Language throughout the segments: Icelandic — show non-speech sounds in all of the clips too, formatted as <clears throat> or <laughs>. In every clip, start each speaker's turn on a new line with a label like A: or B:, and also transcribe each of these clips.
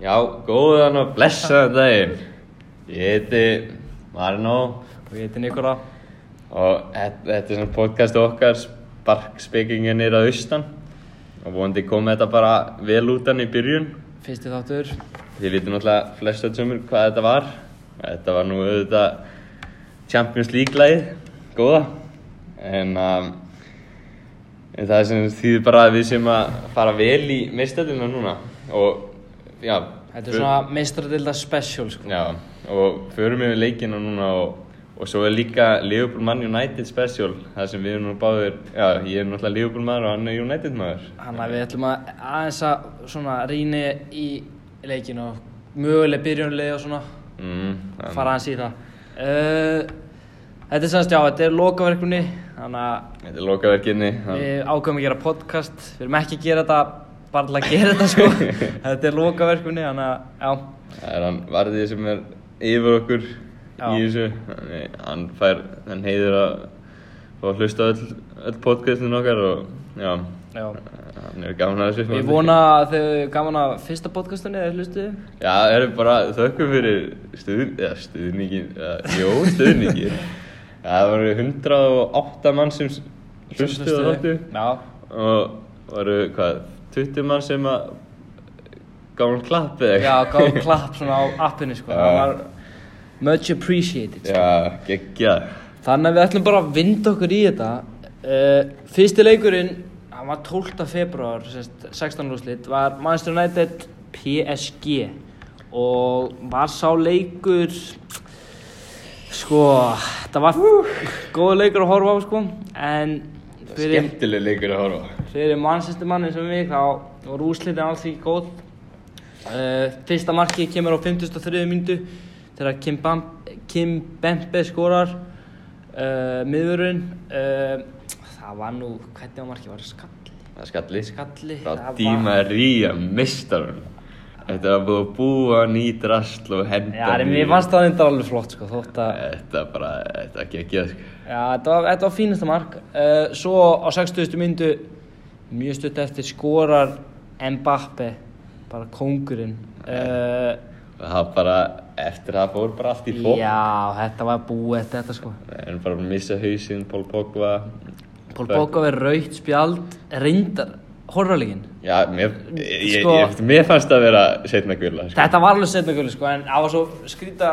A: Já, góðan og blessaðan daginn. Ég heiti Marino
B: Og ég heiti Nikola
A: og þetta, þetta er svona podcast okkar, sparkspekingin er að austan og vonandi kom þetta bara vel útan í byrjun.
B: Fyrsti þáttur
A: Þið vitið náttúrulega flest öll sömur hvað þetta var. Þetta var nú auðvitað Champions League-læð, góða. En, um, en það sem þýðir bara að við séum að fara vel í meistættina núna. Og já,
B: Þetta er
A: förum-
B: svona meistradilda special sko
A: Já, og förum yfir leikina núna og, og svo er líka Liverpool Man United special það sem við erum nú báðir, já, ég er náttúrulega Liverpool maður og hann er United maður
B: Þannig að við ætlum að aðeins að svona rýni í leikinu og möguleg byrjunlegi og svona
A: mm, þannig-
B: fara aðeins í það uh, Þetta er sannst, já, þetta er lokaverkunni þannig að
A: Þetta er lokaverkinni þannig-
B: við ákveðum að gera podcast við erum ekki að gera þetta bara til að gera <laughs> þetta sko Þetta er lokaverkunni, þannig að, já
A: Það er hann varðið sem er yfir okkur
B: Já.
A: í þessu þannig, hann fær, hann heiður að fá að hlusta á öll, öll podcastin okkar og já,
B: Já.
A: hann er gaman að þessu
B: Ég vona að þau gaman að fyrsta podcastunni eða hlustuðu
A: Já, það eru bara þökkum fyrir stuðn, eða stuðningin, eða, jú, stuðningin.
B: <laughs>
A: Já, það voru 108 mann sem s- hlustuðu á þáttu
B: Já,
A: og voru, hvað, 20 mann sem að gáðum klapp eða <laughs>
B: Já, gáðum klapp svona á appinu sko
A: Já.
B: Það var much appreciated sko.
A: Já, geggjað.
B: Þannig að við ætlum bara að vinda okkur í þetta uh, Fyrsti leikurinn, hann var 12. februar, 16. úrslit Var Manchester United PSG Og var sá leikur Sko, þetta var góð leikur að horfa á sko En fyrir,
A: Skemmtileg leikur að horfa. á.
B: fyrir Manchester manni sem mig Þá var úrslitin alls ekki góð Uh, fyrsta markið kemur á 53. myndu þegar Kim, Bam, Kim Bembe skorar uh, miðurinn uh, það var nú, hvernig var markið var það skalli?
A: Það er skalli.
B: Skalli, það
A: Frá
B: var-
A: Díma Ría, mistarun. Þetta var búið að búa nýtt rastl og henda
B: Já, en
A: nýju.
B: mér fannst það þetta alveg flott sko, þótt að
A: Þetta bara, þetta geggjað, sko.
B: Já, þetta var, þetta var fínasta mark uh, Svo á 60. myndu mjög stutt eftir skorar Mbappe bara kóngurinn uh,
A: Það bara, eftir það fór bara allt í fólk.
B: Já, þetta var búið eftir þetta sko
A: Það er bara að missa hausinn, Pól Pogba.
B: Pól Bókov er raukt spjald reyndar horrorlegin
A: Já, mér, ég,
B: Sko-
A: ég, mér fannst það vera setna gulla. Sko.
B: þetta var alveg setna gulli sko en það var svo skrýta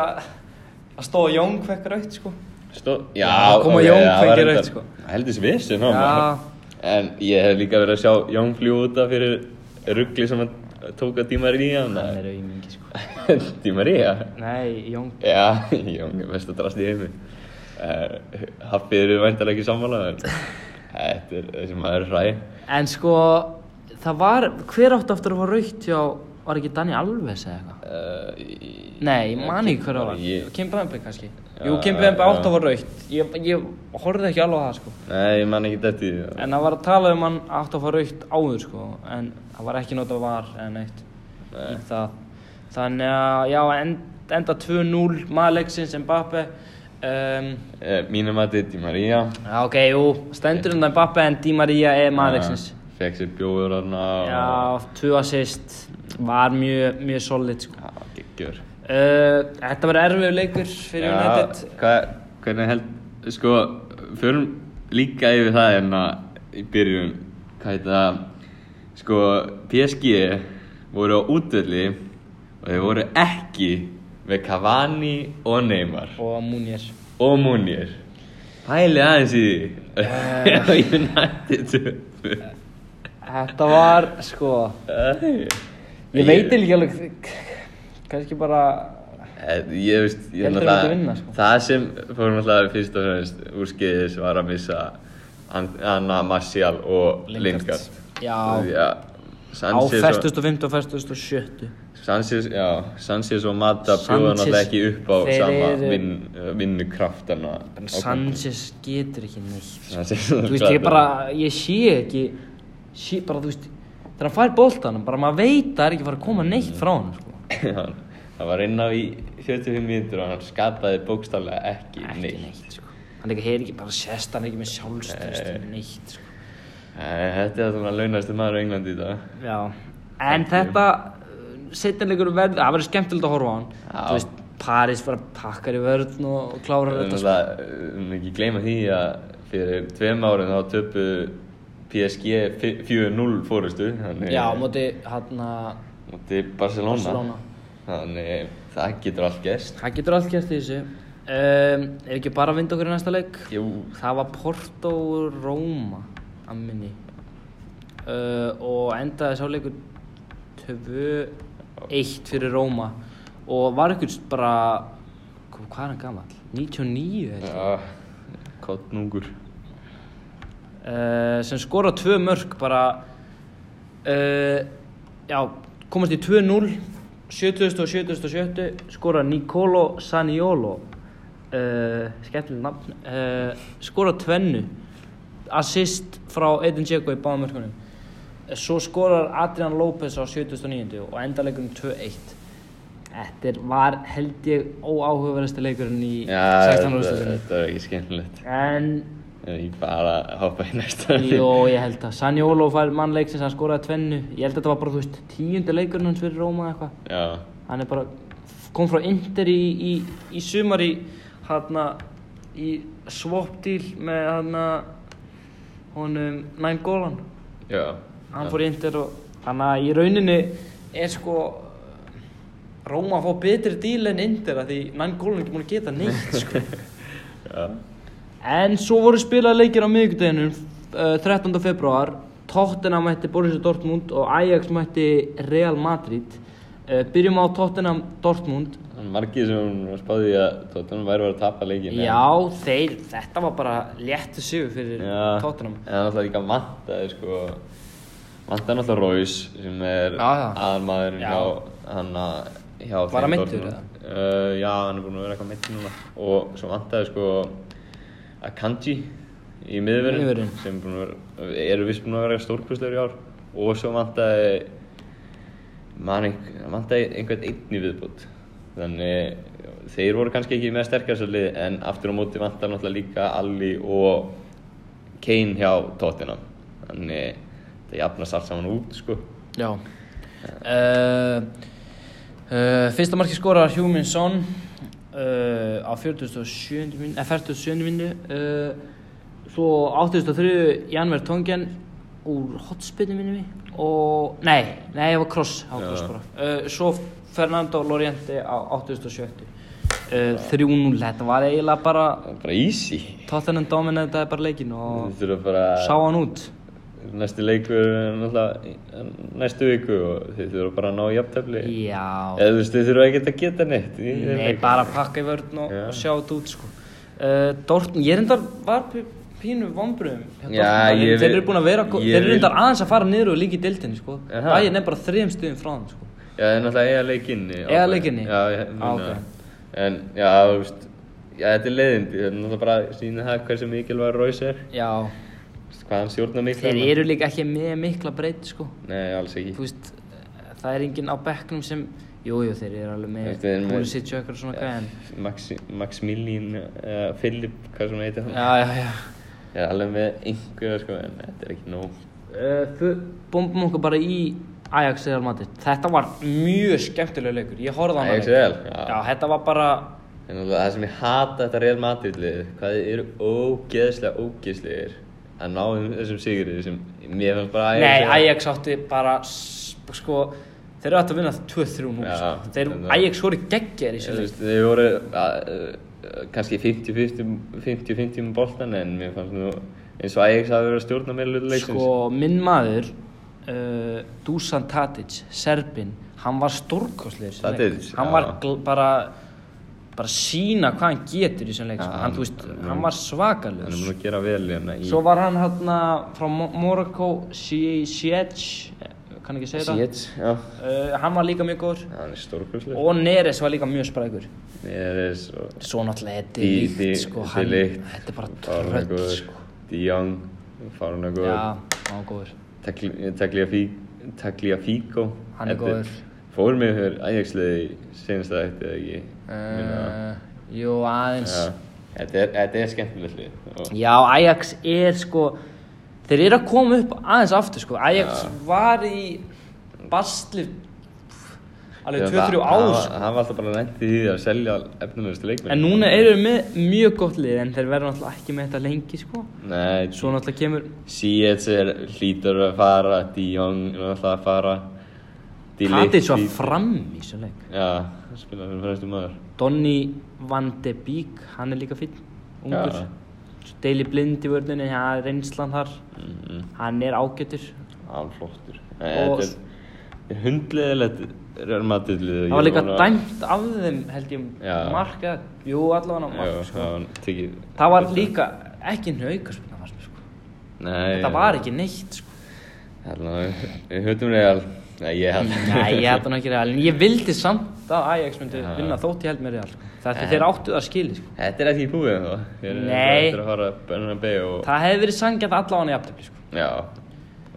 B: að stóða Jón fekk raukt sko
A: Stó, já,
B: Já, kom að
A: ok,
B: Jón
A: það var
B: fengi
A: reyndar-
B: rautt, sko.
A: Það heldist vissu, ná.
B: Já.
A: maður. En ég hef líka verið að sjá Jón fljú út af fyrir ruggli sem hann tók að Díma Ría.
B: það er auðmingi sko
A: <laughs> Díma Ría?
B: nei Jón
A: Já, <laughs> Jón er best að drast í heimi. Uh, Happið eru væntalega ekki sammála, en
B: <laughs>
A: þetta er þessi maður er hræ.
B: en sko það var hver átt aftur að fá raukt hjá var ekki Dani Alves eða eitthvað
A: Uh,
B: nei ég man ekki hver það var
A: Ég-
B: Kim Bembe kannski
A: Já,
B: jú Kim Bembe
A: já.
B: átt að fá raukt ég, ég horfði ekki alveg á það sko
A: Nei, ég man ekki þetta í því.
B: en það var að tala um hann átt að fá raukt áður sko en það var ekki notað var eða neitt í það þannig að já end, enda 2-0 maðurleiksins Mbappe um,
A: Eh, Mínu mati, Di Maria
B: já ok, jú, stendur undan Mbappe en Di Maria er maðurleiksins
A: Fekk Eh, sér bjóður hana
B: já, 2 assist var mjög, mjög solid sko
A: Já, Ah, geggjör
B: uh, þetta var erfiður leikur fyrir United
A: hvað, Hvernig held Sko, förum líka yfir það en að í byrjun Hvað heit það Sko, PSG voru á útvöldi og þeir voru ekki með Cavani og Neymar
B: og Munir
A: og Munir Pæli aðeins í
B: Eh.
A: <laughs> því United
B: þetta var sko
A: Æ.
B: ég veit ekki alveg kannski bara
A: Eh, Ég veist, ég
B: Heldur
A: náttúrulega-
B: þú myndir vinna, sko?
A: það sem fór náttúrulega fyrst og fremst úrskeiðis var að missa An- Anna Marcial og Lingard.
B: já
A: Já,
B: á
A: Sanchez og,
B: 40.50 og 40.70
A: Sanchez, já, Sanchez og Mata bjóða
B: Sanchez,
A: náttúrulega ekki upp á
B: þeir
A: sama
B: eru-
A: vinn, vinnukraftana.
B: Sanchez getur ekki <laughs> neitt
A: Sanchez
B: þú veist ég bara, ég sé ekki sé bara þú veist þegar hann fær boltanum, bara maður veit að það er ekki fara að koma neitt frá hann sko.
A: <laughs> Já, Það var inn á í 45 mínútur og hann skapaði bókstallega ekki,
B: ekki
A: neitt.
B: neitt sko. hann er ekki, er ekki bara sérst hann er ekki með sjálfstöðst neitt sko.
A: Eh, Þetta er það sem að launastu maður á Englandi í dag.
B: já, en þetta uh, setjanleikur verð, það verður skemmtilegt að horfa á hann
A: Já.
B: þú veist, Paris bara pakkar í vörðn og, og klárar þetta sko.
A: Það um ekki gleyma því að fyrir tveim árum þá töpu PSG fi- 4-0 fórustu
B: já, á móti hann að
A: Móti Barcelona.
B: Barcelona.
A: Þannig það getur allt gerst
B: það getur allt gert í þessu um, er ekki bara að vinda okkur í næsta leik
A: Jú,
B: það var Porto Róma að minni uh, og endaði sáleikur 2-1 fyrir Róma og var ykkur bara hvað er hann gammal? 99 held ég.
A: já, kottnungur
B: uh, sem skora tvö mörg bara uh, já, komast í 2-0 70 og 70 og 70 skora Nicolo Saniolo uh, skemmtileg nafn uh, skora tvennu assist frá Edin Dzeko í báðum mörkunum Eh, svo skorar Adrian López á 79 og endaleikunum 2-1 Þetta er- var held ég óáhugaverðasti leikurinn í
A: Já,
B: 16.
A: þetta
B: úrstöðunni
A: þetta er ekki skemmtilegt
B: en
A: Ef Ég bara að hoppa í næsta
B: Jó, ég held það. Sanjólo fær mannleik sem hann skoraði tvennu. Ég held að þetta var bara, þú veist, tíundi leikurinn hans fyrir Róma eða eitthvað.
A: Já,
B: Hann er bara, kom frá Inter í, í, í sumar í, hérna, í swap deal með, hérna, honum Naim Golan.
A: já
B: Hann fór í Inter og, þannig að í rauninni er sko, Róma að fá betri deal en Inter að því Naim Golan er ekki múin að geta neitt, sko.
A: Já,
B: En svo voru spilað leikir á miðvíkudeginum uh, 13. februar Tottenham mætti Borussia Dortmund og Ajax mætti Real Madrid uh, Byrjum á Tottenham Dortmund
A: Það er margir sem hún spáði því að Tottenham væri að vera að tapa leikin
B: Já, þeir, þetta var bara léttu sigur fyrir
A: Já,
B: Tottenham
A: En það er náttúrulega líka vantaði sko Vantaði náttúrulega Róis sem er
B: Já, já.
A: aðalmaðurinn
B: Já.
A: hjá hann að hjá
B: Var hann
A: þeim
B: meiddur,
A: Dortmund. Uh, já, hann er búinn að vera eitthvað meittur núna og svo vantaði sko Akanji í miðverðin
B: Miðvörðinn.
A: sem búin að vera, eru vist búin að vera stórkustlegur í ár og svo vantaði man einhver, vantaði einhvern einn í viðbútt þannig þeir voru kannski ekki með sterkast lið en aftur á móti vantar náttúrulega líka Alli og Kane hjá Tottenham þannig það jafnast allt saman út sko
B: Já uh, uh, Fyrsta marki skorar Hjóminsson uh, á 47. minu, eh, 47. minu uh, svo 83. Janver Tongen úr hotspinnu minni mig og nei, nei, það var cross, það var
A: Já.
B: cross bara. uh, svo Fernando Loriente á 87. Uh, 3-0, þetta var eiginlega bara
A: það er bara easy
B: Tottenham dominaði bara leikin og
A: þú þurfa bara
B: sá hann út
A: næsti leikur er náttúrulega í- næstu viku og þið þurfa bara að ná jafntefli
B: Já,
A: eða þú veist þið þurfa ekkert að geta neitt í þeim
B: Nei,
A: leik.
B: bara pakka í vörðin og,
A: Já.
B: og sjá þetta út sko. uh, Dortmund, ég reyndar var p- pínu vonbröðum
A: Já, ég
B: Þeir
A: vil-
B: eru búin að vera, gó-
A: ég
B: þeir eru
A: vil-
B: reyndar aðeins að fara niður og líka í deildinni sko.
A: Jaha.
B: Bæinn er bara þrejum stuðum frá þeim sko.
A: já það er náttúrulega eiga leikinni
B: Eiga leik inni?
A: já, ég,
B: Á,
A: núna.
B: ok.
A: en já þú veist já þetta er leiðindi þetta er náttúrulega bara sína það hversu mikilvægur Róis er
B: Já,
A: Þú veist, hvað hann stjórnar mikilvægur
B: þeir eru líka ekki með mikla breyti sko.
A: nei alls ekki
B: Þú veist, eh, það er enginn á bekknum sem Jújú, jú, þeir eru alveg
A: Þeir eru
B: með
A: með-
B: Pulisic og eitthvað svona gæðin
A: Maxi, Maximilian uh, Philip, hvað sem hann heitir hann
B: Já, já, já
A: Ég er alveg með einhverja sko en þetta er ekki nóg
B: uh, Bombum okkur bara í Ajax Real Madrid Þetta var mjög skemmtilega leikur Ég horfði á hann
A: Ajax Real, já.
B: Já, þetta var bara
A: En náttúrulega það sem ég hata þetta Real Madrid lið hvað þið eru ógeðslega ógeðslegir að ná þeim- þessum sigri sem mér fannst bara
B: Nei,
A: Real.
B: Ajax átti bara s- sko Þeir eru átti að vinna 2-3 nú
A: Já,
B: sko. Þeir,
A: en það-
B: Ajax voru geggjar í
A: Ég,
B: þessu
A: þú
B: leik
A: veist, Þið voru að, uh, kannski 50-50 50-50 með boltan en mér fannst nú eins og Ajax hafi verið að stjórna með hlutu leiksins
B: Sko, minn maður uh, Dusan Tadic, Serbin Hann var stórkostlegur í þessum leik.
A: Tadic,
B: Hann
A: já.
B: var gl- bara bara sína hvað hann getur í þessum leik sko.
A: Já,
B: Hann, þú veist, hann var svakalus
A: Þannig mun að gera vel hérna í
B: Svo var hann hérna frá Mo- Monaco, Siege, kann ekki segja það.
A: Shit, já
B: Uh, hann var líka mjög góður.
A: Hann er stórkurslega
B: Og Neres var líka mjög sprækur.
A: Ég er svo
B: Svo náttúrulega, þetta
A: Í-
B: er
A: í-
B: líkt, sko.
A: þetta er
B: Hann,
A: líkt.
B: þetta er bara tröll,
A: Fárunagóður,
B: sko.
A: Díjón, Fárunagóður,
B: Já, hann var góður.
A: eh, Tagliafico.
B: Hann er góður.
A: Fór mig hér Ajax-liði senast að þetta eða ekki.
B: Uh, jú, aðeins.
A: Já, þetta er, þetta er skemmtilegt lið. Og,
B: Já, Ajax er, sko, þeir eru að koma upp aðeins aftur, sko. Ajax var í bastli alveg
A: Ég
B: 2-3
A: það-
B: ár sko.
A: Hann, hann var alltaf bara lent í því að selja efnilegustu leikmenn.
B: En núna eru við með mjög gott lið en þeir verða náttúrulega ekki með þetta lengi sko
A: Nei,
B: Svo náttúrulega kemur
A: Sietz er hlýtur að fara, Díón er alltaf að fara. Delikt-
B: Katið svo
A: Di-
B: fram í svo leik
A: Já, hann spilaði fyrir fremstu maður.
B: Donny Van de Beek, hann er líka finn, ungur
A: Já.
B: Svo Daily Blind í vörðinni, hann er reynslan þar
A: Mhm.
B: Hann er ágætur
A: Hann flottur. Og...
B: Og-
A: Þetta er hundleðilegt Real Madrid liðið.
B: Það var líka dæmt af þeim held ég
A: Já.
B: marka, jú allavega
A: Já,
B: marka sko.
A: það var tekið.
B: Það var líka ekki naukarspunna fannst mér sko
A: Nei.
B: Þetta var ekki neitt sko
A: Þannig að við höfum Real. Nei, ég held.
B: Nei, ég held hann ekki real, en ég vildi samt að Ajax myndi
A: Já.
B: vinna þótt ég held mér real sko. Það er því þeir áttu það skili sko
A: <laughs> Þetta er ekki búið en þá. Ég er bara
B: Nei.
A: eftir að fara Bernabeu og...
B: Það hefði verið sangjað allavega í aftöfli sko
A: Já,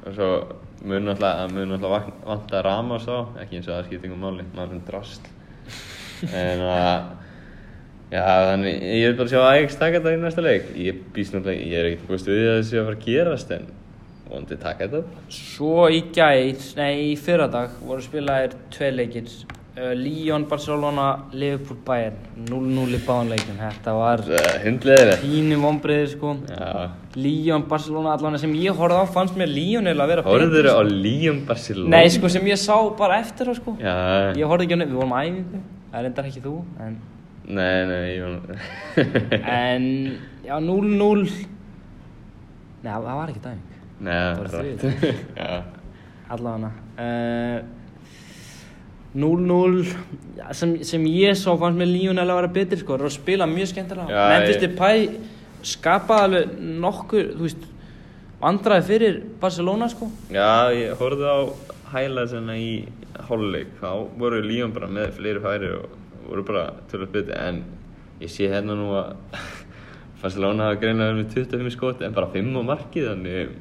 A: og svo mun alltaf, mun alltaf vanta Ramos á, ekki eins og það skiptir einhver máli, maður er svona drasl. En að, já, þannig, ég vil bara sjá Ajax taka þetta í næsta leik. Ég býst náttúrulega, ég er ekkert búist við að það sé að fara að gerast, en vonandi taka þetta.
B: Svo í gær, nei í fyrradag voru spilaðir tvei leikir uh, Lyon, Barcelona, Liverpool, Bayern 0-0 í báðan leikum, þetta var
A: Það er hundleðilegt.
B: pínu vonbreiðir sko
A: Já,
B: Lyon, Barcelona, allan sem ég horfði á fannst mér Lyon eða að vera
A: horfður á Líum Barcelona?
B: Nei sko sem ég sá bara eftir á sko
A: Já,
B: Ég horfði ekki á nefn, við vorum á æfingu Það er endar ekki þú En,
A: <laughs> nei, nei, ég var...
B: en já 0-0 Nei það það var ekki dæming
A: <laughs> Nei, það
B: Bara
A: var rætt. <laughs> Já,
B: Allavega hana 0-0 já, sem, sem ég sá fannst mér Lionel að vera betri sko, er að spila mjög skemmtilega
A: Já,
B: Memphis
A: ég-
B: Depay skapaði alveg nokkur þú veist, vandraði fyrir Barcelona sko
A: Já, ég horfði á hælaðsina í hálfleik þá voru Líón bara með fleiri færi og voru bara tölvöld betri en ég sé hérna nú að <laughs> Barcelona hafa greinlega verið með 25 skot en bara 5 á markið þannig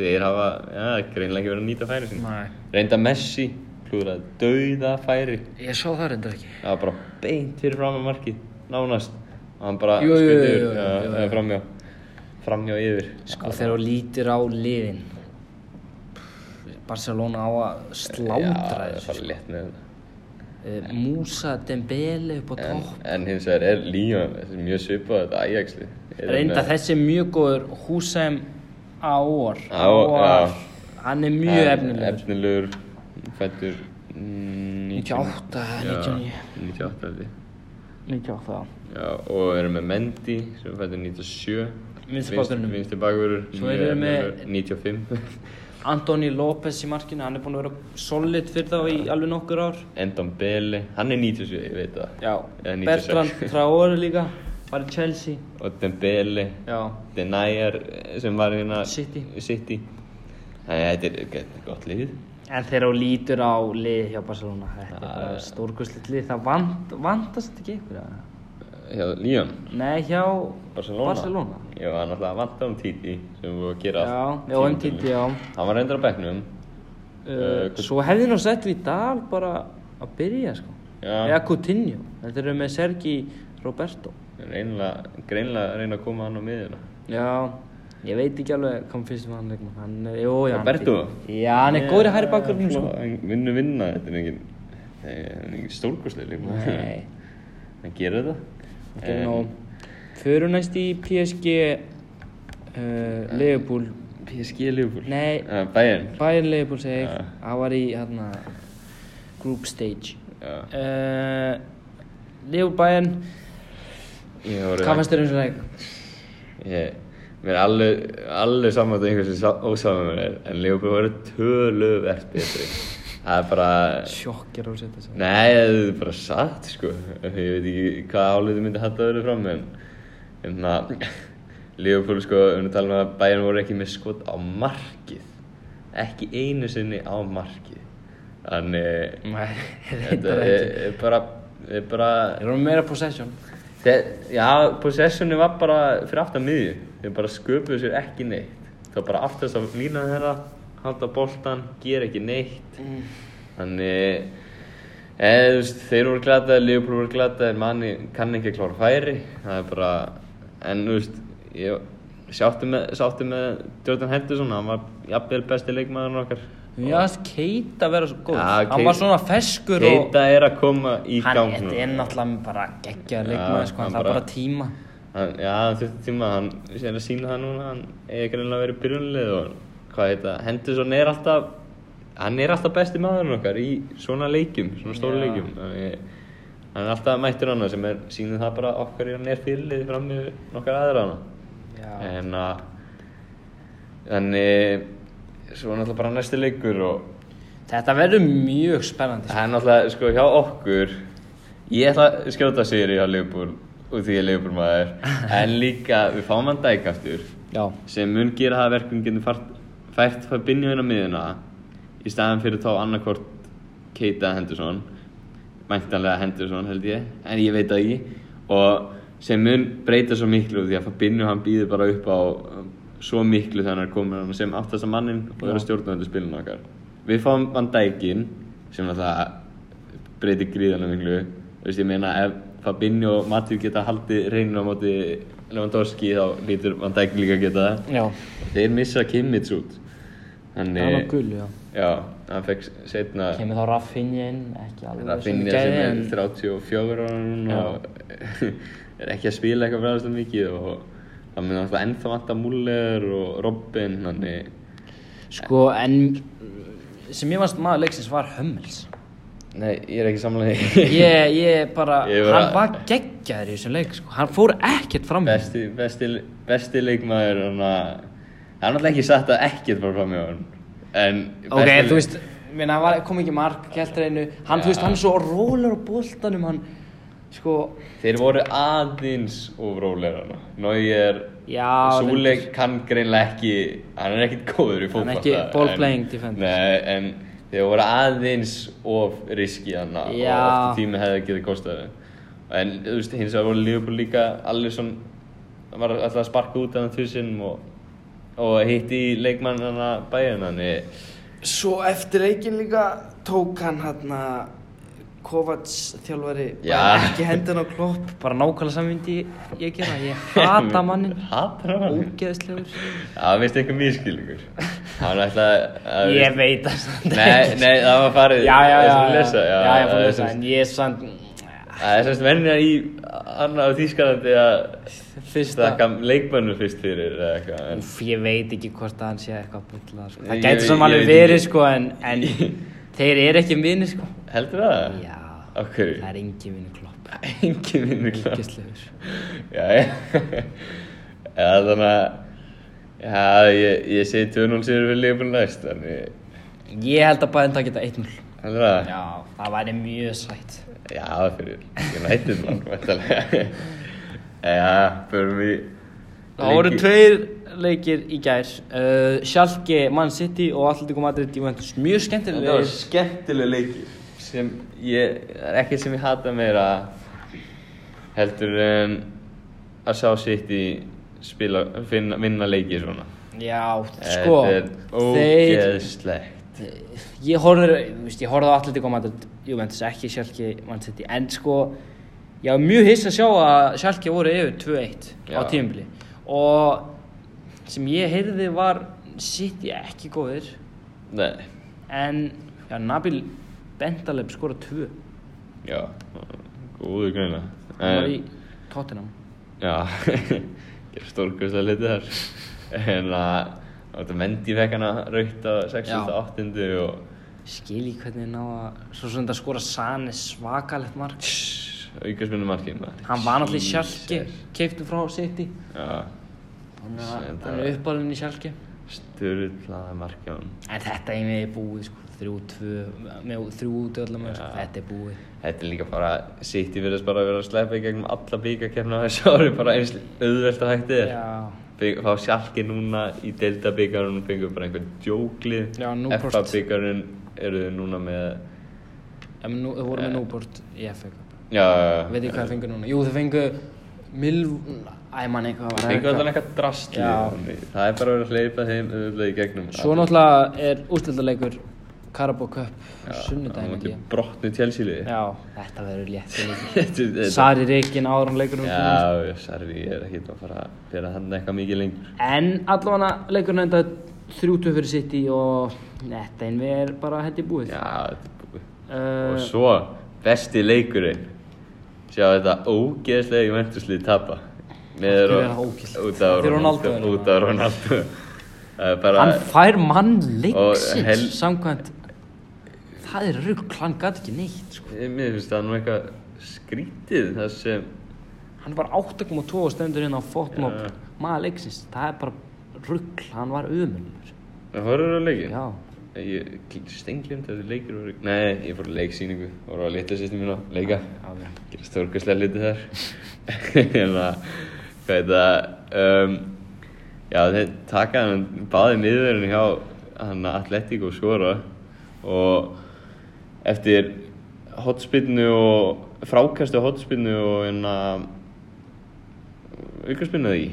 A: þeir hafa ja, greinlega ekki verið að nýta færi sín
B: Nei.
A: reynda Messi klúðraði dauða færi
B: Ég sá það reyndar ekki
A: það var bara beint fyrir fram á markið nánast og hann bara
B: Jú, jú, jú,
A: skutti yfir,
B: jú, jú,
A: já,
B: jú,
A: eða framhjá framhjá yfir
B: Sko þegar þú lítir á liðin Barcelona á að slátra
A: Já, það
B: þessu
A: var létt með þetta
B: Eh, Musa Dembele upp á
A: En,
B: topp
A: en hins vegar er Líón mjög svipað þetta Ajaxli.
B: Reynda þessi er mjög góður Húsheim Áor
A: Aor,
B: Aor,
A: já.
B: Hann er mjög efnilegur
A: Efnilegur, fættur... mm,
B: 98,
A: Já,
B: 99
A: 98 held ég.
B: 98 já.
A: Já, og við erum með Mendy sem fættur 97.
B: Vinstri bakvörðurinn.
A: Vinstri bakverður.
B: Svo erum við með-
A: 95.
B: Antoni López í markinu Hann er búinn að vera solid fyrir þá í alveg nokkur ár
A: Endon Bele, hann er 97, ég veit það.
B: Já
A: Eða 96.
B: Bertrand Traore líka Var í Chelsea
A: Og Dembele,
B: Já
A: Denayer sem var hérna...
B: City.
A: City. Þannig að þetta er þetta er gott lið.
B: En þegar hún lítur á lið hjá Barcelona Þetta er bara stórkustlit lið Það vant, vantast þetta ekki ykkur eða?
A: Já, Líón.
B: Nei, hjá
A: Eh, Barcelona.
B: Barcelona.
A: Já, hann alltaf vant á um Titi sem við vorum að gera
B: Já,
A: allt
B: já, um
A: tímabilið.
B: Titi, já.
A: Hann var reyndur á bekknum
B: Uh, svo hefði nú sett Vidal bara að byrja sko
A: Já.
B: eða Coutinho þetta eru með Sergi Roberto
A: Reynilega, greinlega að reyna að koma hann á miðjuna
B: já ég veit ekki alveg hvað mér finnst um hann leikmann hann er, jú, já,
A: Roberto?
B: hann, já, hann er góður í hæri bakgrunum
A: <laughs>
B: sko.
A: Hann eh, vinnu vinna, þetta er engin Það er engin stórkosleik líka
B: Nei.
A: <laughs> Hann gerir það Eh,
B: okay, um, fyrir næst í PSG uh, Leopold
A: PSG Liverpool
B: Nei.
A: uh, Bayern
B: Bayern Leopold segi ég
A: Já.
B: hann var í hérna group stage
A: Já.
B: uh, Leopold Bayern
A: Ég voru
B: hvað fannst þér um svo leik?
A: Ég, mér er alveg, alveg saman að einhversu ósaman með mér En Liverpool voru töluvert betri Það er bara
B: sjokkir á að setja sig
A: Nei, það er bara satt sko Ég veit ekki hvað álið myndi hætta að vera fram en en að Liverpool sko, við erum að tala um að Bayern voru ekki með skot á markið ekki einu sinni á markið þannig
B: Nei,
A: Mm. <laughs> þetta
B: reyndar
A: er,
B: ekki
A: er bara, er bara
B: Þeir eru meira possession
A: þe, já, possessioni var bara fyrir aftan miðju, þeir bara sköpuðu sér ekki neitt það var bara aftast að lína þeirra halda boltan, gera ekki neitt
B: Mm.
A: Þannig, eða þú veist, þeir voru glataði, Liverpool voru glataði, manni kann ekki að klára færi, það er bara, en þú veist, ég sátti með, sátti með Jordan Henderson, hann var jafnvel besti leikmaðurinn okkar.
B: Mér finnst Keita vera svo góð
A: Já,
B: Hann
A: Keita-
B: var svona feskur og
A: Keita er að koma í
B: Hann
A: gang
B: þetta
A: núna.
B: er náttúrulega bara geggjaður
A: Já,
B: leikmaður sko,
A: hann
B: hann þarf
A: bara-
B: bara tíma
A: Hann- Já, hann þurfti tíma, hann er að sína það núna, hann er greinlega að vera í byrjunlið og hvað heit það, Henderson er alltaf, hann er alltaf besti maðurinn okkar í svona leikjum, svona stóru
B: Já.
A: leikjum, þannig hann er alltaf mættur annað sem er, sýnir það bara okkar í hann er fyrirlið fram með nokkar aðra hana.
B: Já,
A: En að, þannig, svo er náttúrulega bara næsti leikur og
B: Þetta verður mjög spennandi sko.
A: Það er náttúrulega, sko, hjá okkur Ég ætla að skjóta sigri hjá Leopold og því ég er Leopold maður en líka við fáum hann dæk aftur
B: Já,
A: sem mun gera það að verkum getum fært, fært fyrir Binjóin á miðuna í staðan fyrir þá annarkvort Keita Henderson mæntanlega Henderson held ég en ég veit það ekki og sem mun breyta svo miklu því að Binjó hann býður bara upp á um, svo miklu þegar hann er komin hann sem aftast að mannin og er að stjórna öllu spilinu okkar við fáum Van Dijkinn sem alltaf breytir gríðanlega miklu þú veist ég meina ef Fabinho og Matip geta haldið reynir á móti Lewandowski þá lítur Van Dijk líka að geta það
B: já,
A: Þeir missa Kimmits út
B: það var
A: Þannig,
B: gul, já
A: já, hann fekk setna
B: Kemur þá Raffinja inn, ekki alveg
A: Raffinja sem er 34 ára núna
B: Já.
A: og <laughs> er ekki að spila eitthvað fræðast um mikið og það mun alltaf ennþá vanta Muller og Robin þannig,
B: Sko, en sem ég varst maður leiksins var Hummels
A: nei, ég er ekki samlega
B: Ég, ég bara,
A: Ég bara-
B: hann var geggjaður í þessum leik sko. Hann fór ekkert fram hjá.
A: besti, besti, besti leikmaður hann að- það er náttúrulega ekki satt að ekkert bara fram í hann en
B: Ok,
A: besti-
B: þú veist, minna, hann var, kom ekki mark, kelt reynu Hann, þú veist, hann er svo rólur á boltanum Hann, sko,
A: þeir voru aðeins of rólega hann Neuer
B: já
A: Súleik kann greinlega ekki, hann er ekkit góður í
B: Hann
A: fótbolta.
B: er ekki ball
A: en-
B: playing defender.
A: Nei, en þeir voru aðeins of riski hann og
B: Já.
A: oft í tími hefði getið kostað þeim. En þú veist, hins vegar voru Liverpool líka allir svona, hann var alltaf að sparka út hann þúsinn og, og hitti leikmann hann að bæja hann.
C: Svo eftir leikin líka tók hann hérna Kovacs þjálfari
A: Já.
C: bara ekki hendin á klopp
B: Bara nákvæmlega samvindi ég gera
A: <laughs>
B: Ég hata mannin
A: Hata mannin?
B: Ógeðslegur
A: Það finnst eitthvað miskilningur. Hann ætlaði að...
B: Ég veit það samt
A: Nei,
B: ekki.
A: nei, það var farið.
B: Já, já,
A: ég
B: já
A: er sem að lesa, já.
B: já, ég fór
A: það
B: að
A: er
B: lesa
A: sem-
B: En ég er samt
A: Það er semst venja í annað á Þýskalandi að
B: Fyrsta
A: stakka leikmönnum fyrst fyrir eða eitthvað en
B: Úff, ég veit ekki hvort að hann sé eitthvað að bulla sko.
A: Ég-
B: Það gæti
A: ég
B: sem alveg
A: veit
B: verið
A: ekki.
B: sko en,
A: <laughs>
B: en þeir eru ekki vinir sko
A: heldur það?
B: Já,
A: Af hverju?
B: það er engin vinur
A: <laughs>
B: klopp
A: Engin vinnur klá
B: Ógislegur
A: Já, já Já, þannig að Já, ég, ég segi 2-0 sér við leifbúin næst þannig
B: Ég held að bæðin það geta 1-0
A: heldur það?
B: Já, það væri mjög sætt
A: Já, fyrir United mann, vettalega Já, förum við
B: Það voru tveir leikir í gær uh, Schalke, Man City og Atletico Madrid Juventus Mjög
A: Þetta var
B: skemmtilega
A: skemmtileg leikir sem ég, það er ekki sem ég hata meira heldur en að sá sitt í spila, finna, vinna leiki svona
B: Já, sko
A: Þetta er ógeðslegt
B: ég horfður, þú veist, ég horfði á Atletico Madrid Juventus, ekki Schalke Man City en sko, ég var mjög hiss að sjá að Schalke voru yfir 2-1 á
A: Já.
B: tímbili og sem ég heyrði var City ekki góðir
A: Nei,
B: en já, Nabil Bentaleb skora 2
A: já, góður greina
B: hann var í
A: En-
B: Tottenham
A: Já, <laughs> gera stórkvæslega hluti þar en að þetta mendi fekk hana raukt á 68. og
B: skil í hvernig þeir ná að svo sem þetta skora Sane svakalegt mark
A: aukastmyndu markið
B: hann var náttúrulega í Schalke keiptum frá City
A: Já,
B: hann
A: Sem
B: er-
A: þetta
B: hann
A: var-
B: er uppalinn í Schalke
A: Sturlaða markján
B: En þetta er með búið sko, þrjú, tvö, með þrjú út öllum, sko. þetta er búið.
A: Þetta er líka bara City virðast bara að vera að sleppa í gegnum alla bíkakefna þessu ári bara eins auðvelt að hægt er
B: Já,
A: Feng- Fá sjálki núna í Delta bíkarunum fengur bara einhvern djóklið
B: Já, Newport.
A: FA bíkarun eru þau núna með
B: en nú, þau voru með Núbort í FA Cup.
A: Eh. Já,
B: Veit ekki hvað þau fengu núna? Jú, þau fengu Milv... Æ, mann eitthvað var
A: fengur allan eitthvað drastli
B: Já.
A: Það er bara að vera að hleypa þeim auðvitað í gegnum
B: Svo náttúrulega er úrslöldaleikur Karabó Cup,
A: Það
B: sunnudaginn
A: múti
B: ekki.
A: brotnu tjálsýlið
B: Já, þetta verður létt.
A: <laughs> Þetta
B: <laughs> Sari Reykjén áður hann leikur um
A: Já, sorry, ég er ekki að fara að vera hann eitthvað mikið lengur
B: En allavega leikurinn endaði þrjútu fyrir City og þetta einn við er bara held ég búið
A: Já, þetta er búið.
B: uh,
A: Og svo, besti leikurinn. Sjá þetta ógeðslega Juventuslið tapa.
B: Af
A: Meður
B: hverju er
A: og
B: það ógeðslegt?
A: út af
B: Af því
A: Ronaldo.
B: Ronaldo er
A: Út af Ronaldo. Það er bara,
B: hann fær mann
A: Og
B: leiksins
A: hel-
B: samkvæmt það er rugg, hann gæti ekki neitt sko.
A: mér finnst það nú eitthvað skrítið það sem,
B: hann er bara 8.2 og stendur inn á fotmob maður leiksins, það er bara rugg hann var ömulur
A: það horfður á leikinn.
B: já,
A: Ég stenglimt að þið leikir voru, nei, ég fór í leiksýningu, voru á litlisistum mín að leika.
B: já,
A: gera stórkastlega hluti þar <laughs> en að hvað er það um, já þeir taka hann báði miðverðin hjá hann Atletico skora og eftir hotspinnu og frákastu hotspinnu og hérna, en að aukarspinnu því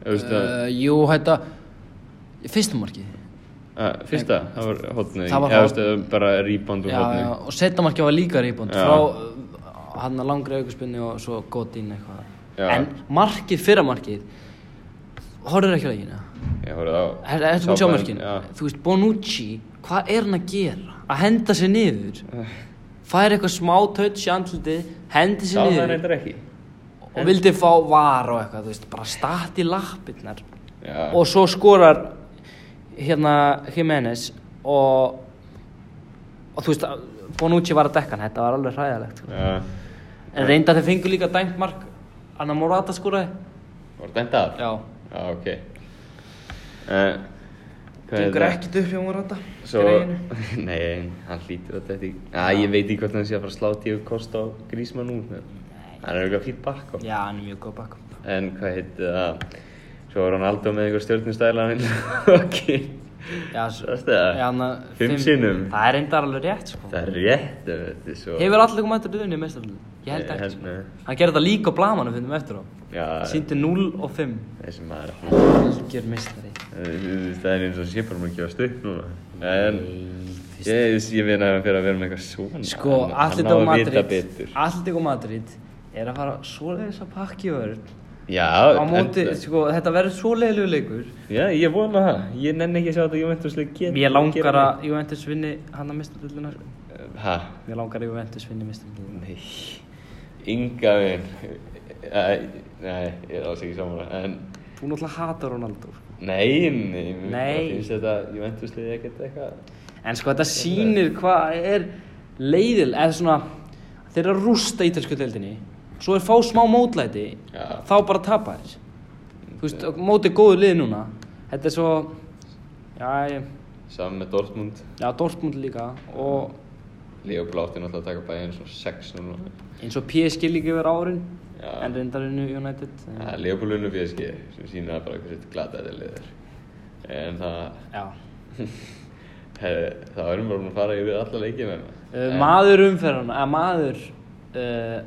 A: Þú veist að
B: Uh, jú, þetta fyrstum markið
A: að, fyrsta, það var hotnu
B: Það var
A: eða þú
B: horn.
A: veist að bara rebound
B: já,
A: og
B: já,
A: hotnu
B: og setna markið var líka rýbund
A: Já.
B: frá uh, hann að langri aukurspunni og svo gott inn eitthvað
A: Já.
B: en markið, fyrra markið horfður ekki á leikina
A: ég horfði á
B: Er- ertu búinn að sjá
A: sápan,
B: mörkin
A: já.
B: þú veist, Bonucci, hvað er hann að gera að henda sér niður fær eitthvað smá touch í andlitið hendi
A: sá
B: sér
A: það
B: niður
A: reyndar ekki
B: og vildi fá var og eitthvað þú veist, bara stati lappirnar
A: Já.
B: og svo skorar hérna Jiménez og og þú veist Bonucci var að dekka hann, þetta var alveg hræðilegt sko.
A: já,
B: en reynda þeir fengu líka dæmt mark Anna Morata skoraði
A: voru dæmt af
B: já,
A: Já, ok. Uh,
C: Gengur ekkert upp hjá Morata
A: Svo,
C: greiðinu.
A: <laughs> nei, hann hlýtur að þetta í. Æ, ég veit ekki hvort hann sé að fara að slá tíu kost á grísmann út. en Hann er eitthvað fýtt bakk á.
B: já, hann er mjög góð bakk
A: En hvað heitir það? Svo var hann aldrei með einhver stjórnustæla hann. ok.
B: já, s-
A: Sástu það?
B: já, hann-
A: Fimm sinnum.
B: það er reynda alveg rétt sko.
A: Það er rétt, um, þetta er svo.
B: hefur allir komið eftir duðinni mest allir ég held
A: Ég
B: ekki
A: held
B: sko.
A: nei.
B: hann gerði það líka á blamanum finnum eftir á
A: Já,
B: síndi 0 og 5
A: þessi maður.
B: algjör mistari
A: Eh, Það er eins og sé bara mér ekki að stuð núna. En, ég, ég veit að hann fyrir að vera með eitthvað svona.
B: Sko,
A: Hann- hann á
B: Atletico
A: að vita
B: Madrid
A: betur.
B: Atletico Madrid er að fara svoleiðis að pakki vörð
A: Já,
B: á móti,
A: en-
B: sko, þetta verður svoleiðilegu leikur
A: Já, ég vona það. Ég nenni ekki að sjá þetta Juventus leik geta.
B: Mér langar að Juventus vinni hann að mista dildina sko.
A: Hæ?
B: Mér langar að Juventus vinni mista dildina
A: Nei. Inga minn. Æ, Nei, ég er alls ekki samanlega. En,
B: Þú náttúrulega hatar Ronaldo sko.
A: nei, nei. mér
B: Nei.
A: bara Finnst þetta Juventus leik ekkert eitthvað?
B: En sko, þetta sýnir hvað er leiðil eða svona, þeir eru að rústa ítalsku dildinni svo er fá smá mótlæti
A: Já.
B: þá bara tapa þér Þú veist, og mótið góðu lið núna Þetta er svo Já, ég
A: Saman með Dortmund.
B: Já, Dortmund líka og
A: Leo Blátti náttúrulega að taka bæðin svona 6 núna.
B: eins og PSG líka yfir árin
A: Já.
B: en reyndarinu United en-
A: Það er Leo Bólunum PSG sem sína bara hversu glata þetta lið er. En það,
B: Já.
A: það verðum bara búin að fara yfir alla leikina.
B: Uh,
A: En-
B: maður umferðan, eða maður uh,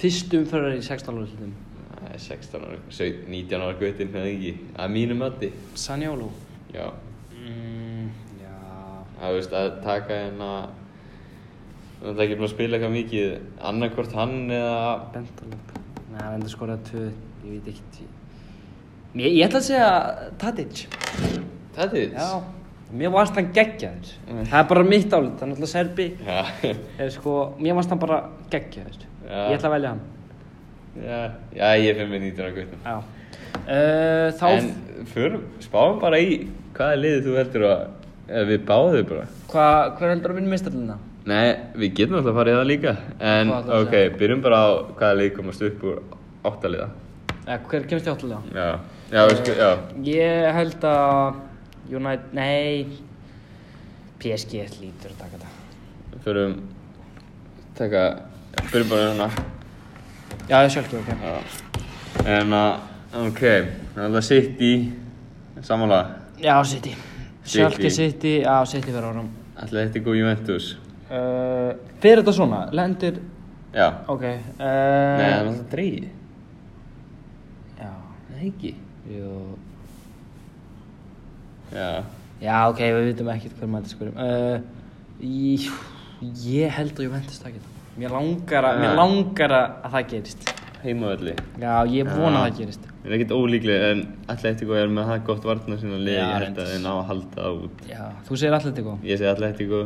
B: fyrst umferðar í 16 lúðslutum
A: Það er 16 ára, 17, 19 ára guttinn með ekki, að mínu mati.
B: Sanjólu
A: Já,
B: mm, Já
A: það veist að taka hérna, það er ekki búin að spila eitthvað mikið, annarkvort hann eða,
B: Bentalop Nei, hann endur skoraði tvö ég veit ekki Mér, ég ætla að segja Tadic
A: þetta er
B: Já, mér varst hann geggjaður það er bara mitt álit, hann er alltaf serbi
A: Já, <laughs>
B: er sko, mér varst hann bara geggja
A: Já.
B: ég ætla að velja hann
A: já, já, ég finn með 19 ára guttinn.
B: já. Uh, þá,
A: En förum, spáum bara í hvaða liði þú heldur að, eða við báðu bara.
B: hva, hver heldur að vinna mistarlina?
A: Nei, við getum alltaf að fara í það líka, en
B: Hvað ætlarðu að
A: ok, byrjum bara á hvaða liði komast upp úr áttaliða.
B: eða Eh, hver kemst í áttalega?
A: Já, já, við sko, já,
B: ég held að United, nei PSG lítur að taka þetta
A: förum, taka, byrjum bara hérna.
B: já, ég sjálf ekki, ok
A: Já. En að, ok, það sitt í samanlega
B: já, City, sjálf ekki City já, City verður áram
A: Atletico Juventus.
B: uh, fyrir þetta svona, lendir
A: Já.
B: ok uh,
A: Nei, það er náttúrulega dregið.
B: já,
A: Það er ekki.
B: jú
A: Já.
B: já, ok, við vitum ekkert hver maður skurum uh, ég, ég held að Juventus taki þetta mér langar að, mér
A: Já.
B: langar að að það gerist
A: heimavöldi.
B: Já, ég vona það gerist.
A: Það er ekkert ólíklega en alltaf eitthvað er með það gott varnar sinna liði,
B: Já,
A: ég held að
B: reyndis.
A: þeir ná að halda það út.
B: Já, þú segir alltaf þetta góð.
A: Ég segi alltaf eitthvað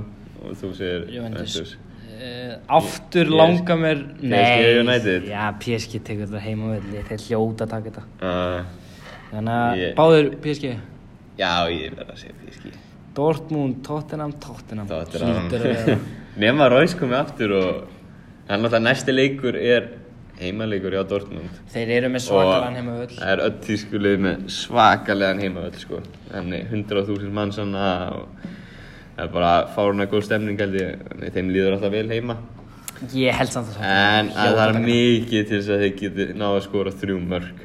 A: og þú segir
B: Juventus.
A: Juventus.
B: Uh, aftur
A: Ég-
B: langa mér
A: PSG United.
B: Já, PSG tekur þetta heima velli Þeir hljóta að taka þetta
A: Uh,
B: Þannig að
A: Ég-
B: báður PSG
A: já, ég verð að segja PSG.
B: Dortmund, Tottenham, Tottenham
A: Það er
B: Hlýtur að vera.
A: <laughs> hann. Nefn að Róis komi aftur og hann náttúrulega næsti leikur er heimaleikur hjá Dortmund.
B: Þeir eru með
A: Og
B: svakalan heima völl
A: Það er öll tískulið með svakalegan heimavöll sko Þannig 100.000 mann svona og það er bara fáruna góð stemning held ég Þannig þeim líður alltaf vel heima
B: Ég held samt að
A: En
B: Tottenham
A: að það er
B: hljóta að taka
A: mikið til þess að þeir geti náðu að skora þrjú mörg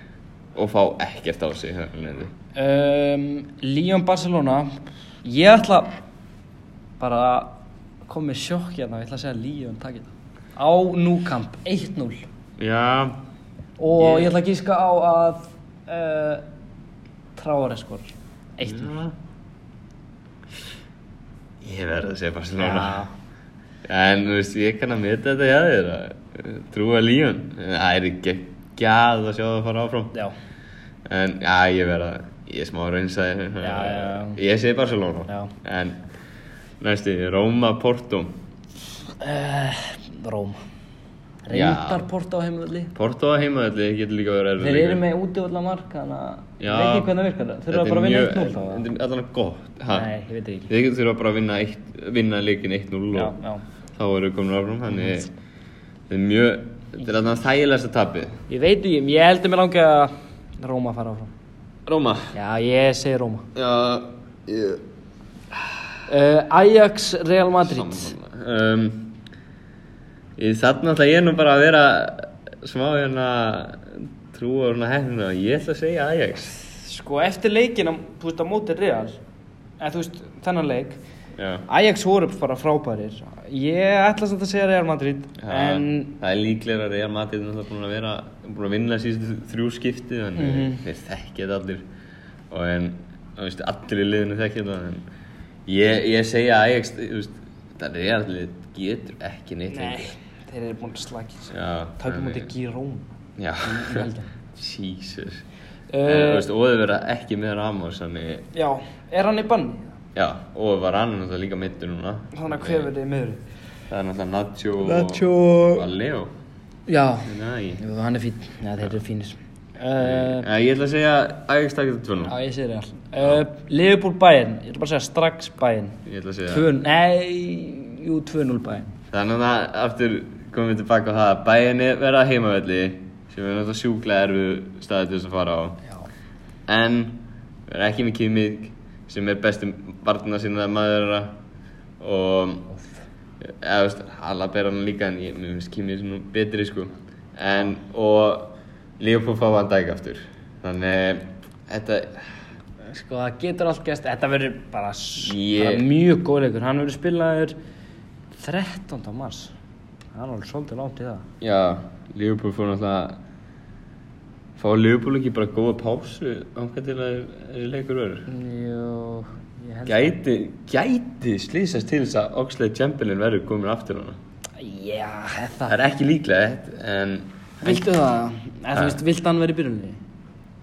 A: og fá ekkert á sig þannig að
B: þetta. um, Lyon, Barcelona Ég ætla bara að koma með sjokk hérna Ég ætla að segja að Lyon taki þetta Á núkamp, 1-0
A: Já,
B: Og ég ætla að gíska á að uh, Tráari skor Eitt núll.
A: ég verð að segja Barcelona En þú veist, ég kann að meta þetta hjá þér að eh, trúa Líón Það er ekki að sjá það fara áfram
B: Já,
A: En já, ég verð að, ég er smá raunsæði.
B: Já, já, já.
A: Ég segi Barcelona.
B: Já.
A: En næstu, Róma, Porto.
B: uh, Róm
A: Já.
B: Reyndar Porto á heimvöldi
A: Porto á heimaðalli getur líka verið erfið.
B: Þeir eru með útivölda marka þannig að ég
A: Já.
B: veit ekki hvernig það virkar Þeir eru
A: Þetta
B: bara
A: er
B: að vinna
A: mjög-
B: 1-0 þá eða?
A: Þetta er allan gott. Ha?
B: Nei, ég veit ekki
A: Þeir getur þurfa bara að vinna, eitt, vinna leikin 1-0
B: Já,
A: og
B: já
A: þá eru komin áfram. Þannig, þetta er mjög, þetta er allan þægilegsta tapið.
B: Ég veit ekki, ég heldur mér langi að Róma fara áfram
A: Róma.
B: Já, ég segi Róma
A: Já, ég...
B: uh, Ajax, Real Madrid
A: um, í þarna ætla ég nú bara að vera smá hérna trúa og svona hefna ég ætla að segja Ajax
B: Sko, eftir leikin á, þú veist, á móti Real eða þú veist, þennan leik
A: já,
B: Ajax voru bara frábærir Ég ætla samt að segja Real Madrid En
A: það er líklega að Real Madrid er náttúrulega búin að vera búin að vinna síðustu þrjú skipti þannig mm
B: Mhm.
A: þeir þekkja þetta allir og en þú veist, allir í liðinu þekkja þetta en ég, ég segja Ajax þú veist, það Real lið getur ekki neitt
B: Nei,
A: lengur.
B: þeir eru búin að slagi sig
A: já,
B: Tökum út
A: þannig-
B: í Gírón
A: já,
B: helgina.
A: <laughs> Jesus
B: Eh,
A: en, þú veist, og þau vera ekki með Ramos þannig
B: Já, er hann í banni?
A: Já, og var hann náttúrulega líka mittur núna
B: Þannig að hverfið er meður
A: Það er náttúrulega Nacho og...
B: Nacho og-
A: Og Leo
B: Já,
A: Nei
B: Jú, hann er fín Já, þeir eru fínir uh,
A: uh, Ég ætla að segja Ajax takir þetta
B: Já,
A: 2-0
B: ég segir það uh, Liverpool Bayern, ég ætla bara að segja strax Bayern
A: Ég ætla að segja
B: Tvö, nei, jú, 2-0 Bayern
A: Þannig að aftur komum við tilbaka á það að Bæinn er verða heimavelli sem er náttúrulega sjúklega erfu staði til þess að fara á
B: Já
A: En við erum ekki með Kimmig sem er besti varna sinna maður þeirra og eða þú veist, Halla ber hann líka en ég mér finnst Kimmig nú betri sko en og Leopold fá Van Dijk aftur þannig þetta
B: Sko, það getur allt gæst Þetta verður bara, s-
A: Ég-
B: bara mjög góð leikur Hann verður spilaður 13. mars Það er alveg svolítið langt í það
A: já Leopold fór náttúrulega fá Leopold ekki bara góða pásu ánka til að þessi leikur verður
B: Jú, ég held
A: gæti gæti slýsast til þess að Oxlade Chamberlain verður komin aftur hana
B: Já, það
A: það er ekki líklegt en
B: Viltu það? Eða þú veist, vilt hann vera í byrjunni?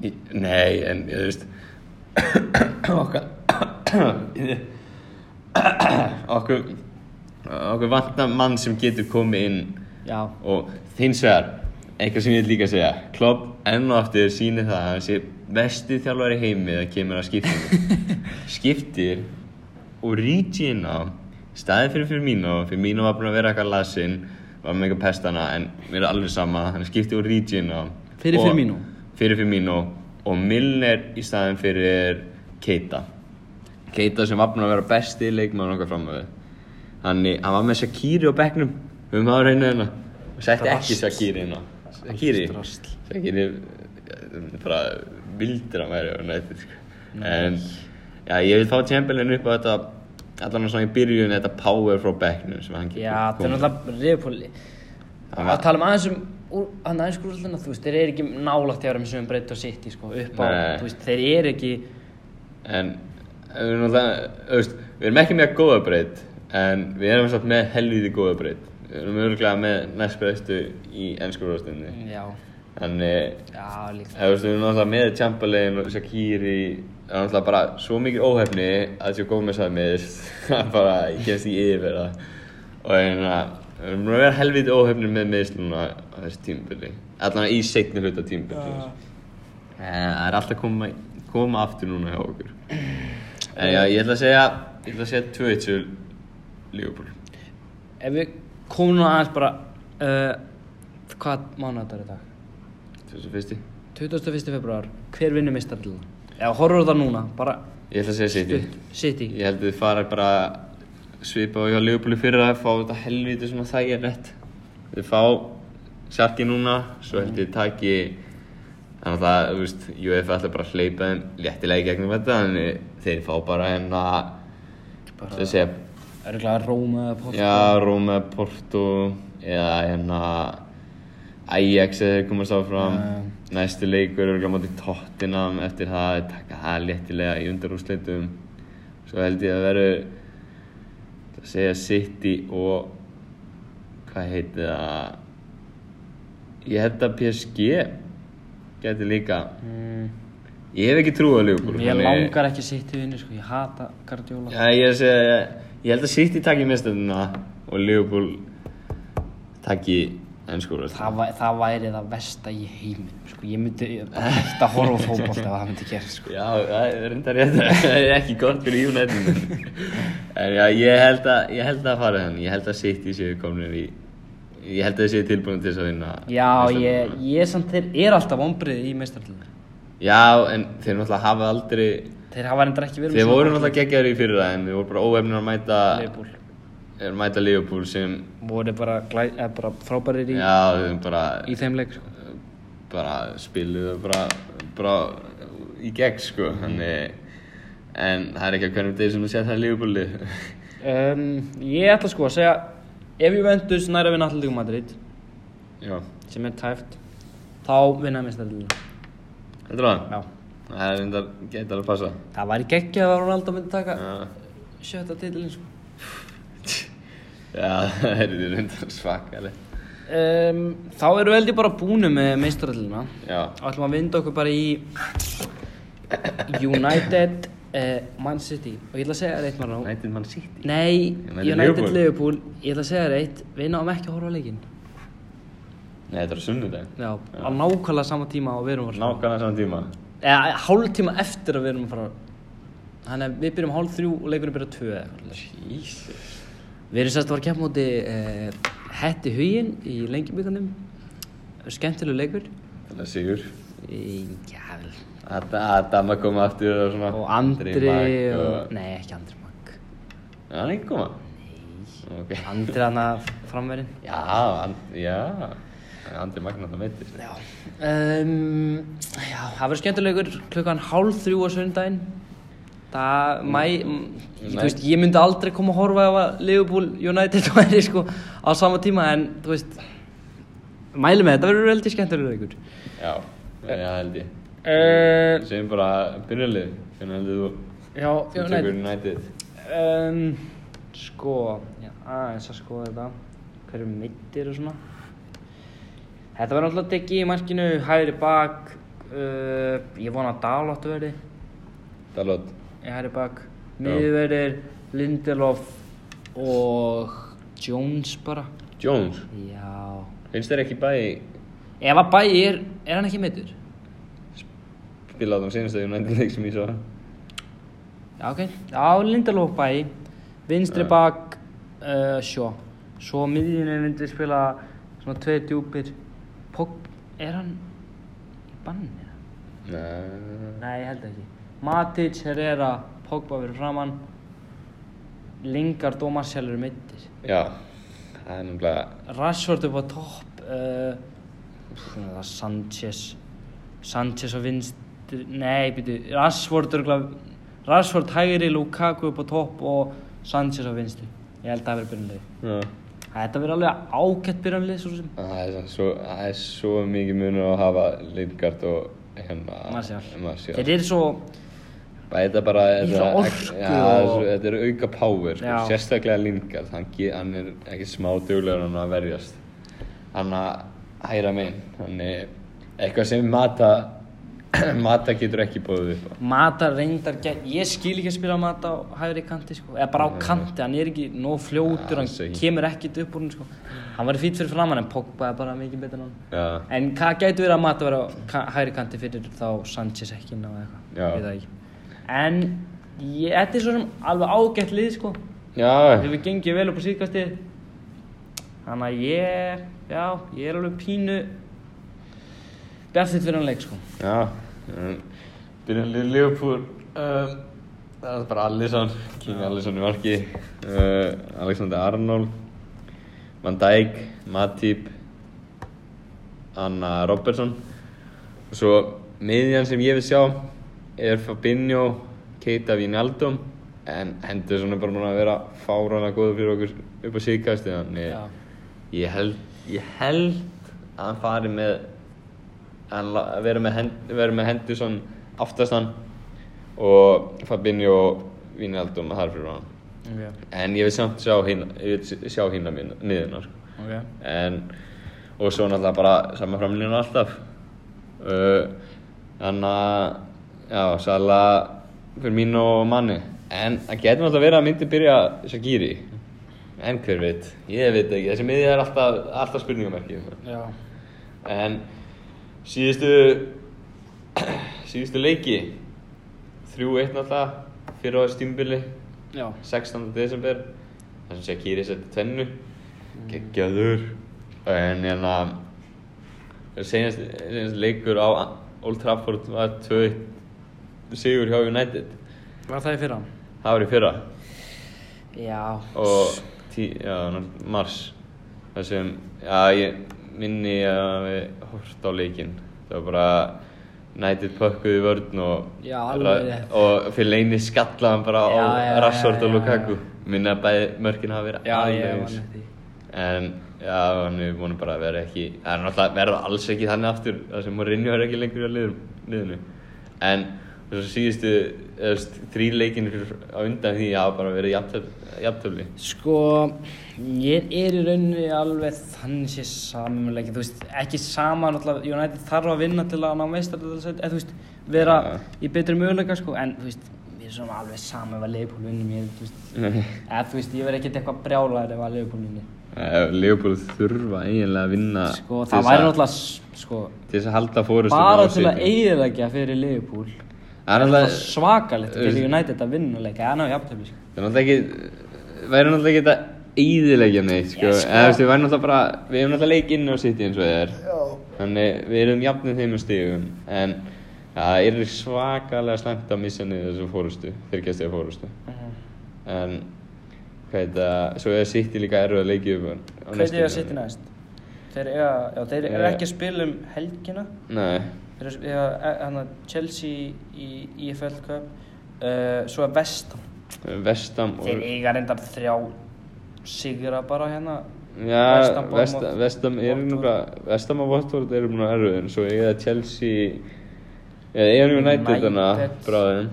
A: Í- Nei, en ég veist okkar okkur okkur vantar mann sem getur komið inn
B: Já,
A: og þins vegar eitthvað sem ég vil líka segja Klopp enn og aftur sýnir það að hann sé besti þjálfari í heimi að kemur að skiptir
B: <laughs>
A: skiptir og ríti inn á staði fyrir fyrir mínu fyrir mínu var búin að vera eitthvað lasinn var með eitthvað pestana en mér er alveg sama hann skipti og ríti inn á
B: Fyrir
A: Og-
B: Firmino?
A: fyrir Firmino og Milner í staðin fyrir Keita Keita sem var búin að vera besti leikmann okkar framöðu Þannig, hann var með Shakiri á bekknum höfum á reynu hérna og setti ekki
B: Drast.
A: Shakiri hérna Shakiri
B: Drasl.
A: Shakiri eh, bara vildir að væri á nættið sko. en já, ég vil fá Chamberlain upp á þetta allan svona í byrjun þetta power frá bekknum sem hann
B: já það er náttúrulega reyðupóli
A: Hann
B: Að tala um aðeins um úr, hann aðeins grúðluna, þú veist, þeir eru ekki nálægt þegar um þeim sem breytt á sitt sko, upp á,
A: Nei.
B: þú veist, þeir eru ekki
A: En eh, við erum náttúrulega, þú veist, við erum ekki með góða breyt En við erum samt með helvíði góða breyt Við erum örgulega með næst bestu í ennskurúðastinni
B: mm, já,
A: en eh,
B: Já, líka.
A: Eða, þú veist, við erum náttúrulega með Chamberlain og Shaqiri Það er náttúrulega bara svo mikið óhefni að Joe Gomez hafi meðist <laughs> Það bara, ég kemst ekki yfir það Og en að, við erum búin að vera helviti óhefni með meðist núna á þessu tímbili Allan í seinni hluta tímbili
C: Já.
A: Það er alltaf koma, koma aftur núna hjá okkur En já, ég ætla að segja, ég ætla að segja 2-1 til Liverpool
B: Ef við komum nú aðeins bara, uh, hvað mánuðar er í dag?
A: 2001
B: 21. februar, hver vinnur mistarillina? Eða horfur það núna, bara
A: Ég ætla að segja City
B: stutt, City.
A: Ég held að þið fara bara svipa á hjá Liverpool í fyrra fá þetta helviti svona þægjarnett þið fá sjarki núna svo held ég taki þannig að þú veist, UF ætla bara að hleypa þeim léttilega í gegnum þetta þannig þeir fá bara hérna
B: Bara-
A: þess að segja,
B: Örgulega Róma eða Porto.
A: já, Roma, Porto eða hérna Ajax eða þeir komast áfram næsti leikur er gláðið Tottenham eftir það, þeir taka það léttilega í undarúsleitum svo held ég að verður að segja City og hvað heitir það ég held að PSG geti líka
B: Mm,
A: ég hef ekki trú á Liverpool
B: ég
A: þannig-
B: langar ekki City vinnu, sko, ég hata Guardiola.
A: Já, ég, er að segja, ég held að City taki mestöndina og Liverpool taki ennskúra
B: Það, væ, það væri það versta í heiminum, sko. Ég myndi ég bara hætta að horfa á fótbolta ef það myndi gera, sko.
A: Já, það er reyndar rétt <laughs> það er ekki gott fyrir United en já, ég held að ég held að fara þannig, ég held að City séu komnir í ég held að þeir séu tilbúin til þess að vinna
B: Já, ég,
A: meistaratitilinn.
B: ég samt, þeir eru alltaf vonbriði í meistarallinu.
A: Já, en þeir náttúrulega hafa aldrei
B: Þeir hafa reyndar ekki verið
A: þeir voru náttúrulega geggjaður í fyrir það en þeir voru bara óefnir að mæta
B: Leifbúl.
A: er mæta Liverpool sem
B: Voru bara, glæ, eða bara frábærir í,
A: já, þeir bara
B: í þeim leik, sko.
A: bara spiluðu bara, bara í gegn sko þannig en það er ekki að hverjum degi sem þú sér það í lífbúli
B: Um, ég ætla sko að segja, ef Juventus næra vinna Atlético Madrid,
A: <laughs> já,
B: sem er tæft, þá vinna meistarallinu.
A: heldur það?
B: Já.
A: það er enda geta alveg passa
B: Það væri geggjað að Ronaldo myndi taka
A: já,
B: sjötta titilin, sko.
A: já <laughs> það er í reyndar svakaleg
B: Um, þá eru við held ég bara búinu með meistarallina.
A: já,
B: og ætlum að vinda okkur bara í United uh, Man City og ég ætla að segja þér eitt maður nú
A: nættið mann sitt
B: Nei,
A: United
B: United
A: Liverpool.
B: Liverpool ég ætla að segja þér eitt, við náum ekki að horfa á leikinn
A: nei, þetta er sunnudag
B: Já, á nákvæmlega sama tíma og við erum að fara
A: nákvæmlega saman tíma
B: eða hálf tíma eftir að við erum að fara þannig að við byrjum hálf þrjú og leikurinn byrjar tvö eða eitthvað svoleiðis.
A: Jesus
B: Við erum sérst að fara að keppa móti uh, Hetti Hugin í lengjubíkanum skemmtileg leikur
A: þannig að sigur
B: Í- Já, vel
A: Ad- Adam að koma aftur og svona
B: og Andri
A: Mag
B: og... Nei, ekki Andri Mag
A: er hann ekki að koma? nei ok
B: Andri hann að framverðin
A: já, and, já Andri Magna það meitir
B: Já um, Já, það verður skemmtilegur klukkan hálf þrjú á söndaginn Það, Mm. mæ, m- þú veist, ég myndi aldrei koma að horfa ef að Liverpool United <laughs> væri sko á sama tíma en, þú veist, mæli með þetta verður veldig skemmtilegur leikur.
A: Já, já held ég
B: Uh,
A: Segjum bara byrjarlið Hvernig heldur þú
B: já,
A: Þú tekur United
B: Um, sko, já, aðeins að skoða þetta Hverju mittir og svona Þetta verður alltaf degi í markinu, hægri bak uh, Ég vona að Dalot verði
A: Dalot
B: í hægri bak
A: Já.
B: Miðverðir, Lindelof og Jones bara
A: Jones
B: Já
A: Finnst þér ekki bæ
B: Ef að bæ er, er hann ekki mittur?
A: Spila á þeim sínustu United leik sem ég svo
B: Já, ok, já, Lindelof bæ Vinstri
A: Já.
B: bak uh, Sjó Svo á miðjunni myndi spila Svona tveir djúpir Pogb, er hann Í banni?
A: Nei
B: Nei, ég held ekki Matic, Herrera, Pogba verið framann Lingard og Marcel eru mittir
A: Já Það er náttúrulega
B: Rashford upp á topp uh, svona það Sanchez Sanchez á vinstri nei, býtu, Rashford örgla, Rashford hægri, Lukaku upp á topp og Sanchez á vinstri ég held að það verið byrjanlið
A: Já
B: þetta verið alveg ágætt byrjanlið svo sem
A: Það er samt svo, það er svo mikið munur að hafa Lindgard og hérna
B: Martial.
A: Marcial
B: þeir eru svo
A: Þetta er bara
B: Mikla
A: þetta-
B: orku
A: Já, það er
B: og-
A: svo- þetta er auka power sko.
B: Já.
A: Sérstaklega Lindgard hann, ge- hann er ekki smá duglegur en að verjast Hann að hæra minn Hann er eitthvað sem Mata <clears throat> Mata getur ekki bóðið upp á
B: Mata reyndar gegn, ég skil ekki að spila Mata á hægri kanti sko, eða bara á kanti, hann er ekki nóg
A: Ja,
B: fljótur, hann
A: alls ekki.
B: kemur ekkit upp úr hann sko. Hann var fýtt fyrir framann en Pogba er bara mikið betur en hann.
A: Já,
B: En hvað gætu verið að Mata vera á ka- hægri kanti fyrir þá Sanchez ekki ná eða eitthvað,
A: Já.
B: ég veit það ekki. En ég, þetta er svo sem alveg ágætt lið sko,
A: já,
B: hefur gengið vel upp á síðkastið. Þannig að ég, já, ég er alveg pínu bjartitt fyrir hann leik sko.
A: já. Mm. Byrjum liður Liverpool um, Það er bara Alisson King Alisson í marki uh, Alexander Arnold Van Dijk, Matip Anna Robertson og svo miðjan sem ég vil sjá er Fabinho Keita Vinaldum en Henderson er bara núna að vera fáránlega góður fyrir okkur upp á síðkast þannig
B: Já.
A: ég held, ég held að hann fari með að la- vera með, Hen- vera með Henderson aftastan og Fabinho Vinaldum þar fyrir hann
B: Okay.
A: en ég vil samt sjá hína, ég vil sjá hína miðunar sko
B: Okay.
A: en og svo náttúrulega bara sama framlýna alltaf uh, þannig að já, Sala fyrir mín og manni en það getur náttúrulega verið að myndi byrja Shaqiri en hver veit, ég veit ekki þessi miði er alltaf, alltaf spurningamerki
B: Já.
A: en síðustu <clears throat> síðustu leiki 3-1 náttúrulega fyrir á þessu tímbili
B: Já.
A: 16. desember þar sem Shakiri setti tvennu geggjaður en hérna senast, senast leikur á Old Trafford var 2 sigur hjá United
B: Var það í fyrra?
A: það var í fyrra
B: Já.
A: og tí, já, ná- mars þar sem já, ég minni að við hort á leikinn það var bara United pökkuði vörn og
B: Já, alveg rétt.
A: og fyrir leini skallaðan bara
B: Já, já, já,
A: á Rashford
B: já,
A: og
B: já.
A: Lukaku minna að bæði mörkin hafa verið
B: Já,
A: alveg
B: ég
A: eins.
B: vann eftir.
A: en já, hann er vonum bara að vera ekki það er náttúrulega verða alls ekki þannig aftur þar sem Mourinho er ekki lengur á liðum, liðinu en þessu síðustu eðust, þrí leikinu fyrir, á undan því hafa bara verið jafntöfli, jafntöfli.
B: Sko, ég er í rauninni alveg þannig sé samanleiki, þú veist, ekki sama náttúrulega, United þarf að vinna til að ná meistar til þess að, þú veist, vera
A: Já.
B: í betri möguleika, sko, en, þú veist, við erum svona alveg saman ef að Leopold vinnum, ég, þú veist, eða, þú veist, ég verð ekkert eitthvað brjálæður ef að Leopold vinnum,
A: Eh, Leopold þurfa eiginlega að vinna
B: sko,
A: til
B: það
A: þess
B: væri
A: að-
B: náttúrulega, s- sko,
A: til þess að halda fórustu
B: bara til að eiginlega fyrir Leopold,
A: það er
B: það er
A: náttúrulega
B: svakalegt fyrir United að vinna leika, en á jafntöfli, sko.
A: það er náttúrulega ekki væri náttúrulega ekki þetta íðilegja neitt sko.
B: Ég sko.
A: eða þú veist, við væri náttúrulega bara við hefum náttúrulega leik inn á City eins og það er þannig við erum jafnir þeim um stígum en það er svakalega slæmt að missa niður þessu fórustu þyrkjast eða fórustu en hvað heit það svo er City líka erfið að leikja um
B: Hvernig er að sitja næst? Þeir, eiga, já, þeir eru
A: Eh.
B: ekki að spila um helgina
A: nei
B: Þeir eru að spila hana, Chelsea í IFL Cup uh, Svo er Vestam
A: Vestam og
B: Þeir eiga reyndar þrjá sigra bara hérna
A: Já,
B: Bournemouth,
A: Vestam, Vestam er
B: Watford.
A: núna Vestam og Watford eru núna erfið en svo eiga það Chelsea eða eiga nú United þarna
B: United.
A: bráðum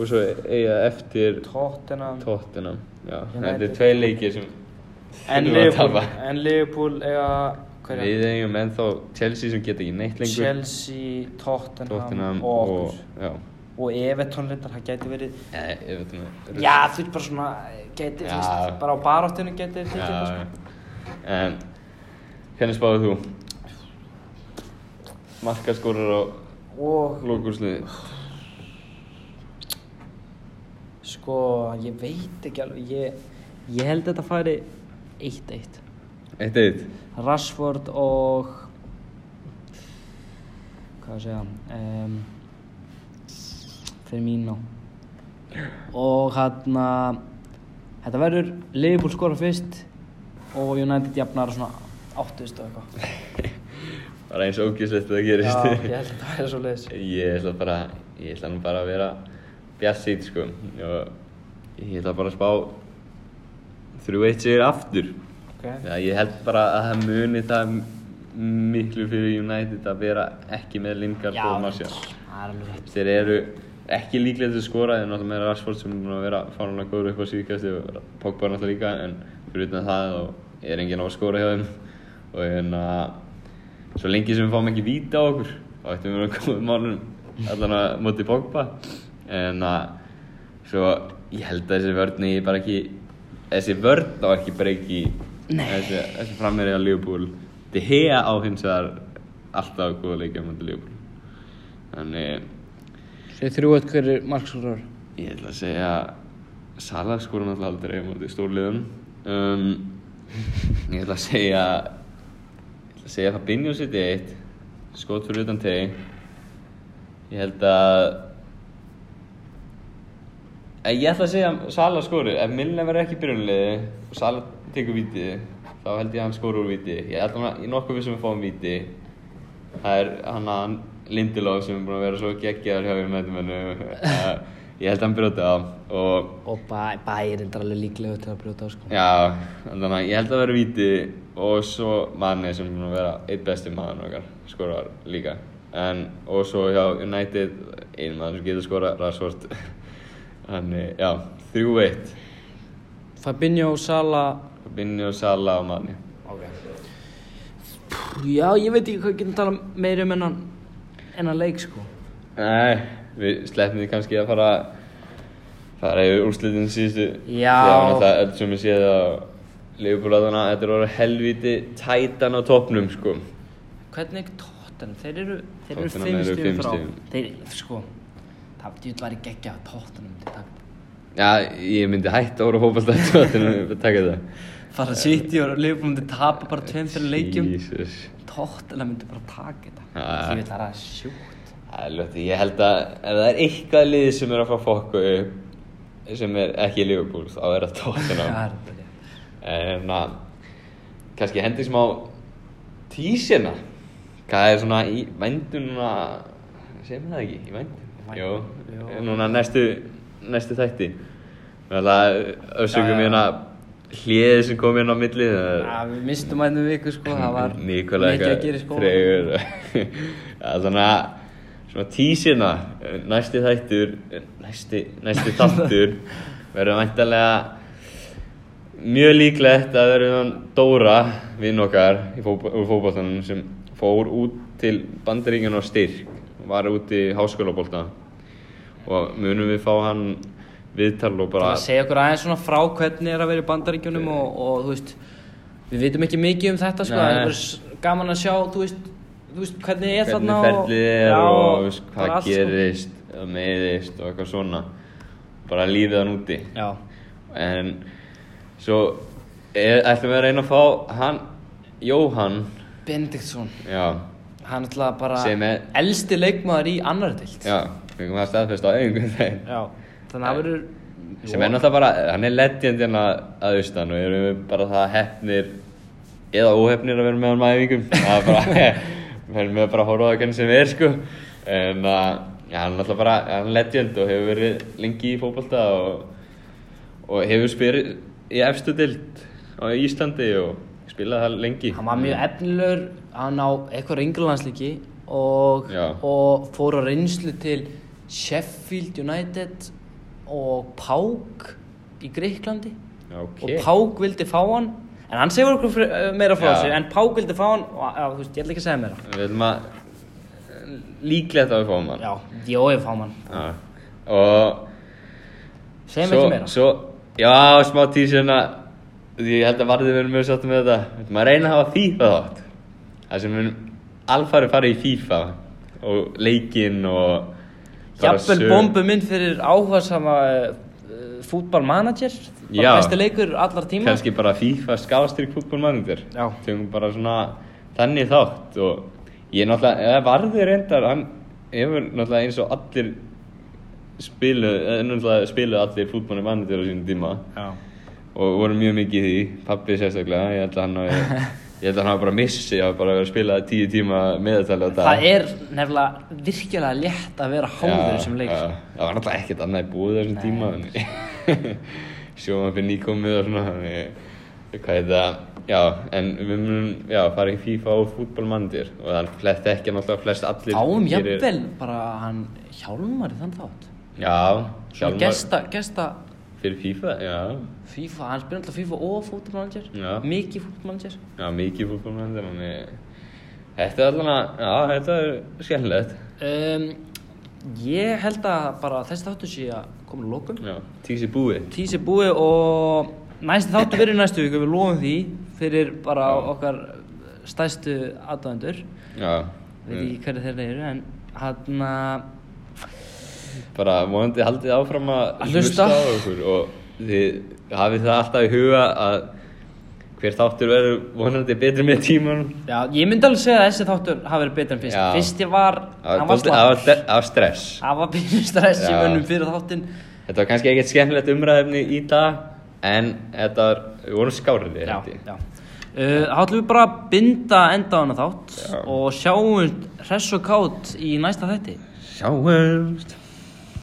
A: og svo eiga eftir
B: Tottenham
A: Tottenham Já,
B: United.
A: þetta er tvei leikir sem
B: En
A: þurfa að
B: Liverpool,
A: tapa.
B: en Liverpool eiga hverja?
A: Við eigum ennþá Chelsea sem geta ekki neitt lengur
B: Chelsea, Tottenham,
A: Tottenham
B: og okkur
A: og, Já,
B: Og Everton reyndar, það gæti verið
A: Eh, ég veit nú
B: Já, þú veist bara svona, gæti, þú
A: Já.
B: veist, bara á baráttinu gæti þið
A: Já,
B: tekið það sko
A: En hvernig spáðu þú? Markaskórar og
B: sko. Og
A: lókursliði
B: Sko, ég veit ekki alveg, ég, ég held að þetta færi 1-1.
A: Eitt eitt
B: Rashford og, hvað að segja, um, Firmino. Og hérna, þetta verður Liverpool skora fyrst og United jafnar svona 8.000 og eitthvað.
A: Bara eins ógjuslegt að það
B: <laughs> Já,
A: gerist
B: ég held að þetta verður svo
A: <laughs>
B: leiðis.
A: Ég ætla bara, ég ætla nú bara að vera bjassít sko og ég ætla bara að spá 3-1 sigur aftur
B: Ok,
A: Já, ég held bara að það muni það m- miklu fyrir United að vera ekki með Lingard
B: Já.
A: og Martial
B: það er alveg rétt.
A: Þeir eru ekki líklega til að skora en náttúrulega með Rashford sem er búinn að vera fánulega góður upp á síðkast og Pogba náttúrulega líka en fyrir utan það þá er enginn á að skora hjá þeim og hérna Svo lengi sem við fáum ekki víta á okkur þá ættum við að vera góðum málunum allan að móti Pogba en að svo ég held að þessi vörn er bara ekki þessi vörn á ekki breyki þessi, þessi frammeiri á Liverpool De Gea á hins vegar alltaf góða leikja á móti Liverpool þannig
B: Sér þrjú eitt hverju markskórar
A: Ég ætla að segja Salah skora náttúrulega aldrei á móti stórliðum um, Ég ætla að segja Ég ætla að segja Fabinho sitt eitt Skot fyrir utan tegi Ég held að Eh, Ég ætla að segja Salah skori Ef Milner verður ekki í byrjunliði og Salah tekur víti þá held ég að hann skori úr víti Ég ætla að ég er nokkuð við sem að fá um víti Það er hann að Lindelof sem er búin að vera svo geggjaður hjá United-mennu. Eh, Ég held að hann brjóti það og
B: Og bæ, bærin er alveg líklega til að brjóta á sko
A: já, þannig að ég held að vera víti og svo manni sem er búin að vera eitt besti maður okkar skorar líka en, og svo hjá United einu maður sem getur skora Rashford <laughs> þannig, já, 3-1
B: Fabinho, Sala
A: Fabinho, Salah og manni
B: Já, ég veit ekki hvað við getum talað meira um enn enn að leik sko
A: Nei, við sleppum því kannski að fara fara yfir úrslitin síðustu
B: Já.
A: Það er öll sem ég séð á Leifbúlaðana, þetta er orðið helviti tætan á toppnum sko
B: Hvernig Tottenham, þeir eru, þeir eru
A: Tottenham
B: fimm
A: eru
B: stíðum
A: fimm
B: frá
A: stigum.
B: Þeir, sko, það djúð væri geggja að Tottenham til takt
A: Já, ég myndi hætt að voru hópast að tóttinu að <laughs> taka þetta
B: Fara City og Liverpool myndi tapa bara tveim fyrir leikjum
A: Jesus
B: Tottenham myndi bara taka þetta
A: Ja.
B: Því við þarf að sjúkt
A: Það er ljótt, ég held að ef það er eitthvað lið sem er að fá fokku upp sem er ekki Liverpool þá er það tóttinu
B: Það er bara rétt.
A: En að kannski hendi smá tísina Hvað er svona í vendun núna segir maður það ekki, í
B: Vændum,
A: vendun Jó,
B: jú.
A: núna næstu næstu þætti Við ætla að
B: Já,
A: öfsökum
B: já.
A: hérna hliðið sem kom hérna á milli það er-
B: Ja, Ah, Við mistum að einu viku sko, það var
A: Nikola
B: mikið að gera í
A: eitthvað
B: skóla
A: tregur <laughs> ja, þannig að svona tísina næsti þættur næsti, næsti þáttur
B: <laughs>
A: verður væntalega mjög líklegt að verður hann Dóra vinn okkar í fótbo- úr fótboltanum sem fór út til bandaríkjun og styrk var úti í háskólabólta og munum við fá hann viðtal og
B: Það
A: bara
B: að segja okkur aðeins svona frá hvernig er að vera í bandaríkjunum og, og þú veist Við vitum ekki mikið um þetta sko,
A: Nei.
B: en það er bara s- gaman að sjá, þú veist, þú veist hvernig er þarna
A: hvernig ferlið er
B: Já,
A: og, og veist,
B: bara
A: hvað
B: allt, sko.
A: gerist eða meiðist og eitthvað svona bara lífið hann úti
B: Já,
A: en svo er, ætlum við að reyna að fá hann Jóhann
B: Benediktsson
A: já,
B: Hann er alltaf bara
A: Sem er-
B: elsti leikmaður í annar dild
A: já, við komum að staðfesta á einhvern veginn
B: Þannig að það verður
A: sem er náttúrulega bara, hann er legend hérna að austan og erum við bara það hefnir eða óhefnir að vera með hann maður í vikum það er
B: <laughs>
A: bara, við erum við bara að horfa á það hvernig sem er sko en að, já, hann er náttúrulega bara, hann er legend og hefur verið lengi í fótbolta og, og hefur spyrið í efstu dild á Íslandi og spilað það lengi
B: Hann var mjög efnilegur Hann á eitthvað ringlandsleiki og,
A: Já.
B: og fór á reynslu til Sheffield United og Pák í Greiklandi
A: okay.
B: og Pák vildi fá hann en hann segir okkur fyrir, eh, meira frá
A: Já.
B: þessu en Pák vildi fá hann og já, þú veist, ég ætla ekki að segja meira
A: við ætlum að líklegt að við fáum hann
B: Já, jó ég fá hann
A: Já. og
B: Segjum
A: Svo-
B: ekki meira
A: svo, já, smá tísina því ég held að varðið verið mjög sáttum með þetta Við ætlum að reyna að hafa FIFA þátt það sem mun alfarið fara í FIFA og leikinn og bara
B: Jafnvel
A: sög-
B: bombu minn fyrir eh, áhersama fútballmanager Það
A: Já.
B: var besti leikur allar tíma
A: kannski bara FIFA skástrík fútbolmannundir
B: Já.
A: tegum bara svona þannig þátt og ég náttúrulega, eða varðið reyndar hann hefur náttúrulega eins og allir spilu, eða náttúrulega spilu allir fútbolmannundir á sínum tíma
B: Já.
A: og voru mjög mikið í því, pappi sérstaklega, ég held að hann
B: <laughs>
A: hafi, ég held að hann hafi bara missi, hafi bara verið að spila tíu tíma meðaltali á dag.
B: Það er nefnilega virkilega létt að vera háður þessum leik
A: Já, það var náttúrulega ekkert annað í búið á þessum tíma, en <laughs> sjóma fyrir nýkomið og svona, þannig, hvað er það, já, en við munum, já, fara í FIFA og fútbolmandir og það er flest ekki náttúrulega flest allir.
B: Fáum
A: gerir-
B: um jafnvel bara hann hjálmar í þann þátt
A: Já,
B: Hjálmar
A: hjálmar
B: Gesta, gesta
A: fyrir FIFA, já,
B: FIFA, hann spyrir alltaf FIFA og fútballmanager
A: Já.
B: Mikið fútballmanager
A: já, mikið fútbolmandir, þannig, Þetta er allavega, já, þetta er skemmtilegt.
B: um, Ég held að bara þessi þáttu sé að koma að lokum
A: Já, tísi búið.
B: Tís er búið og næsti þáttu verið næstu viku, við lofum því fyrir bara okkar stæstu aðdóðendur
A: Já,
B: veit ekki hverju þeirra eru en hann að
A: bara vonandi haldið áfram að
B: Að hlusta.
A: á okkur og þið hafið það alltaf í huga að hver þáttur verður vonandi betri með tímanum.
B: já, ég myndi alveg segja að þessi þáttur hafi verið betur en fyrst
A: Já.
B: fyrsti var,
A: Það
B: hann
A: var
B: var
A: dálítið- það
B: slapp
A: var de- það var stress.
B: hann var byrjum stress í
A: Já.
B: mönnum fyrir þáttinn
A: Þetta var kannski ekkert skemmtilegt umræðefni í dag en þetta var, við vorum skáriði
B: já, já Uh, þá ætlum við bara að binda enda á hana þátt
A: Já.
B: og sjáum hress og kátt í næsta þætti
A: Sjáumst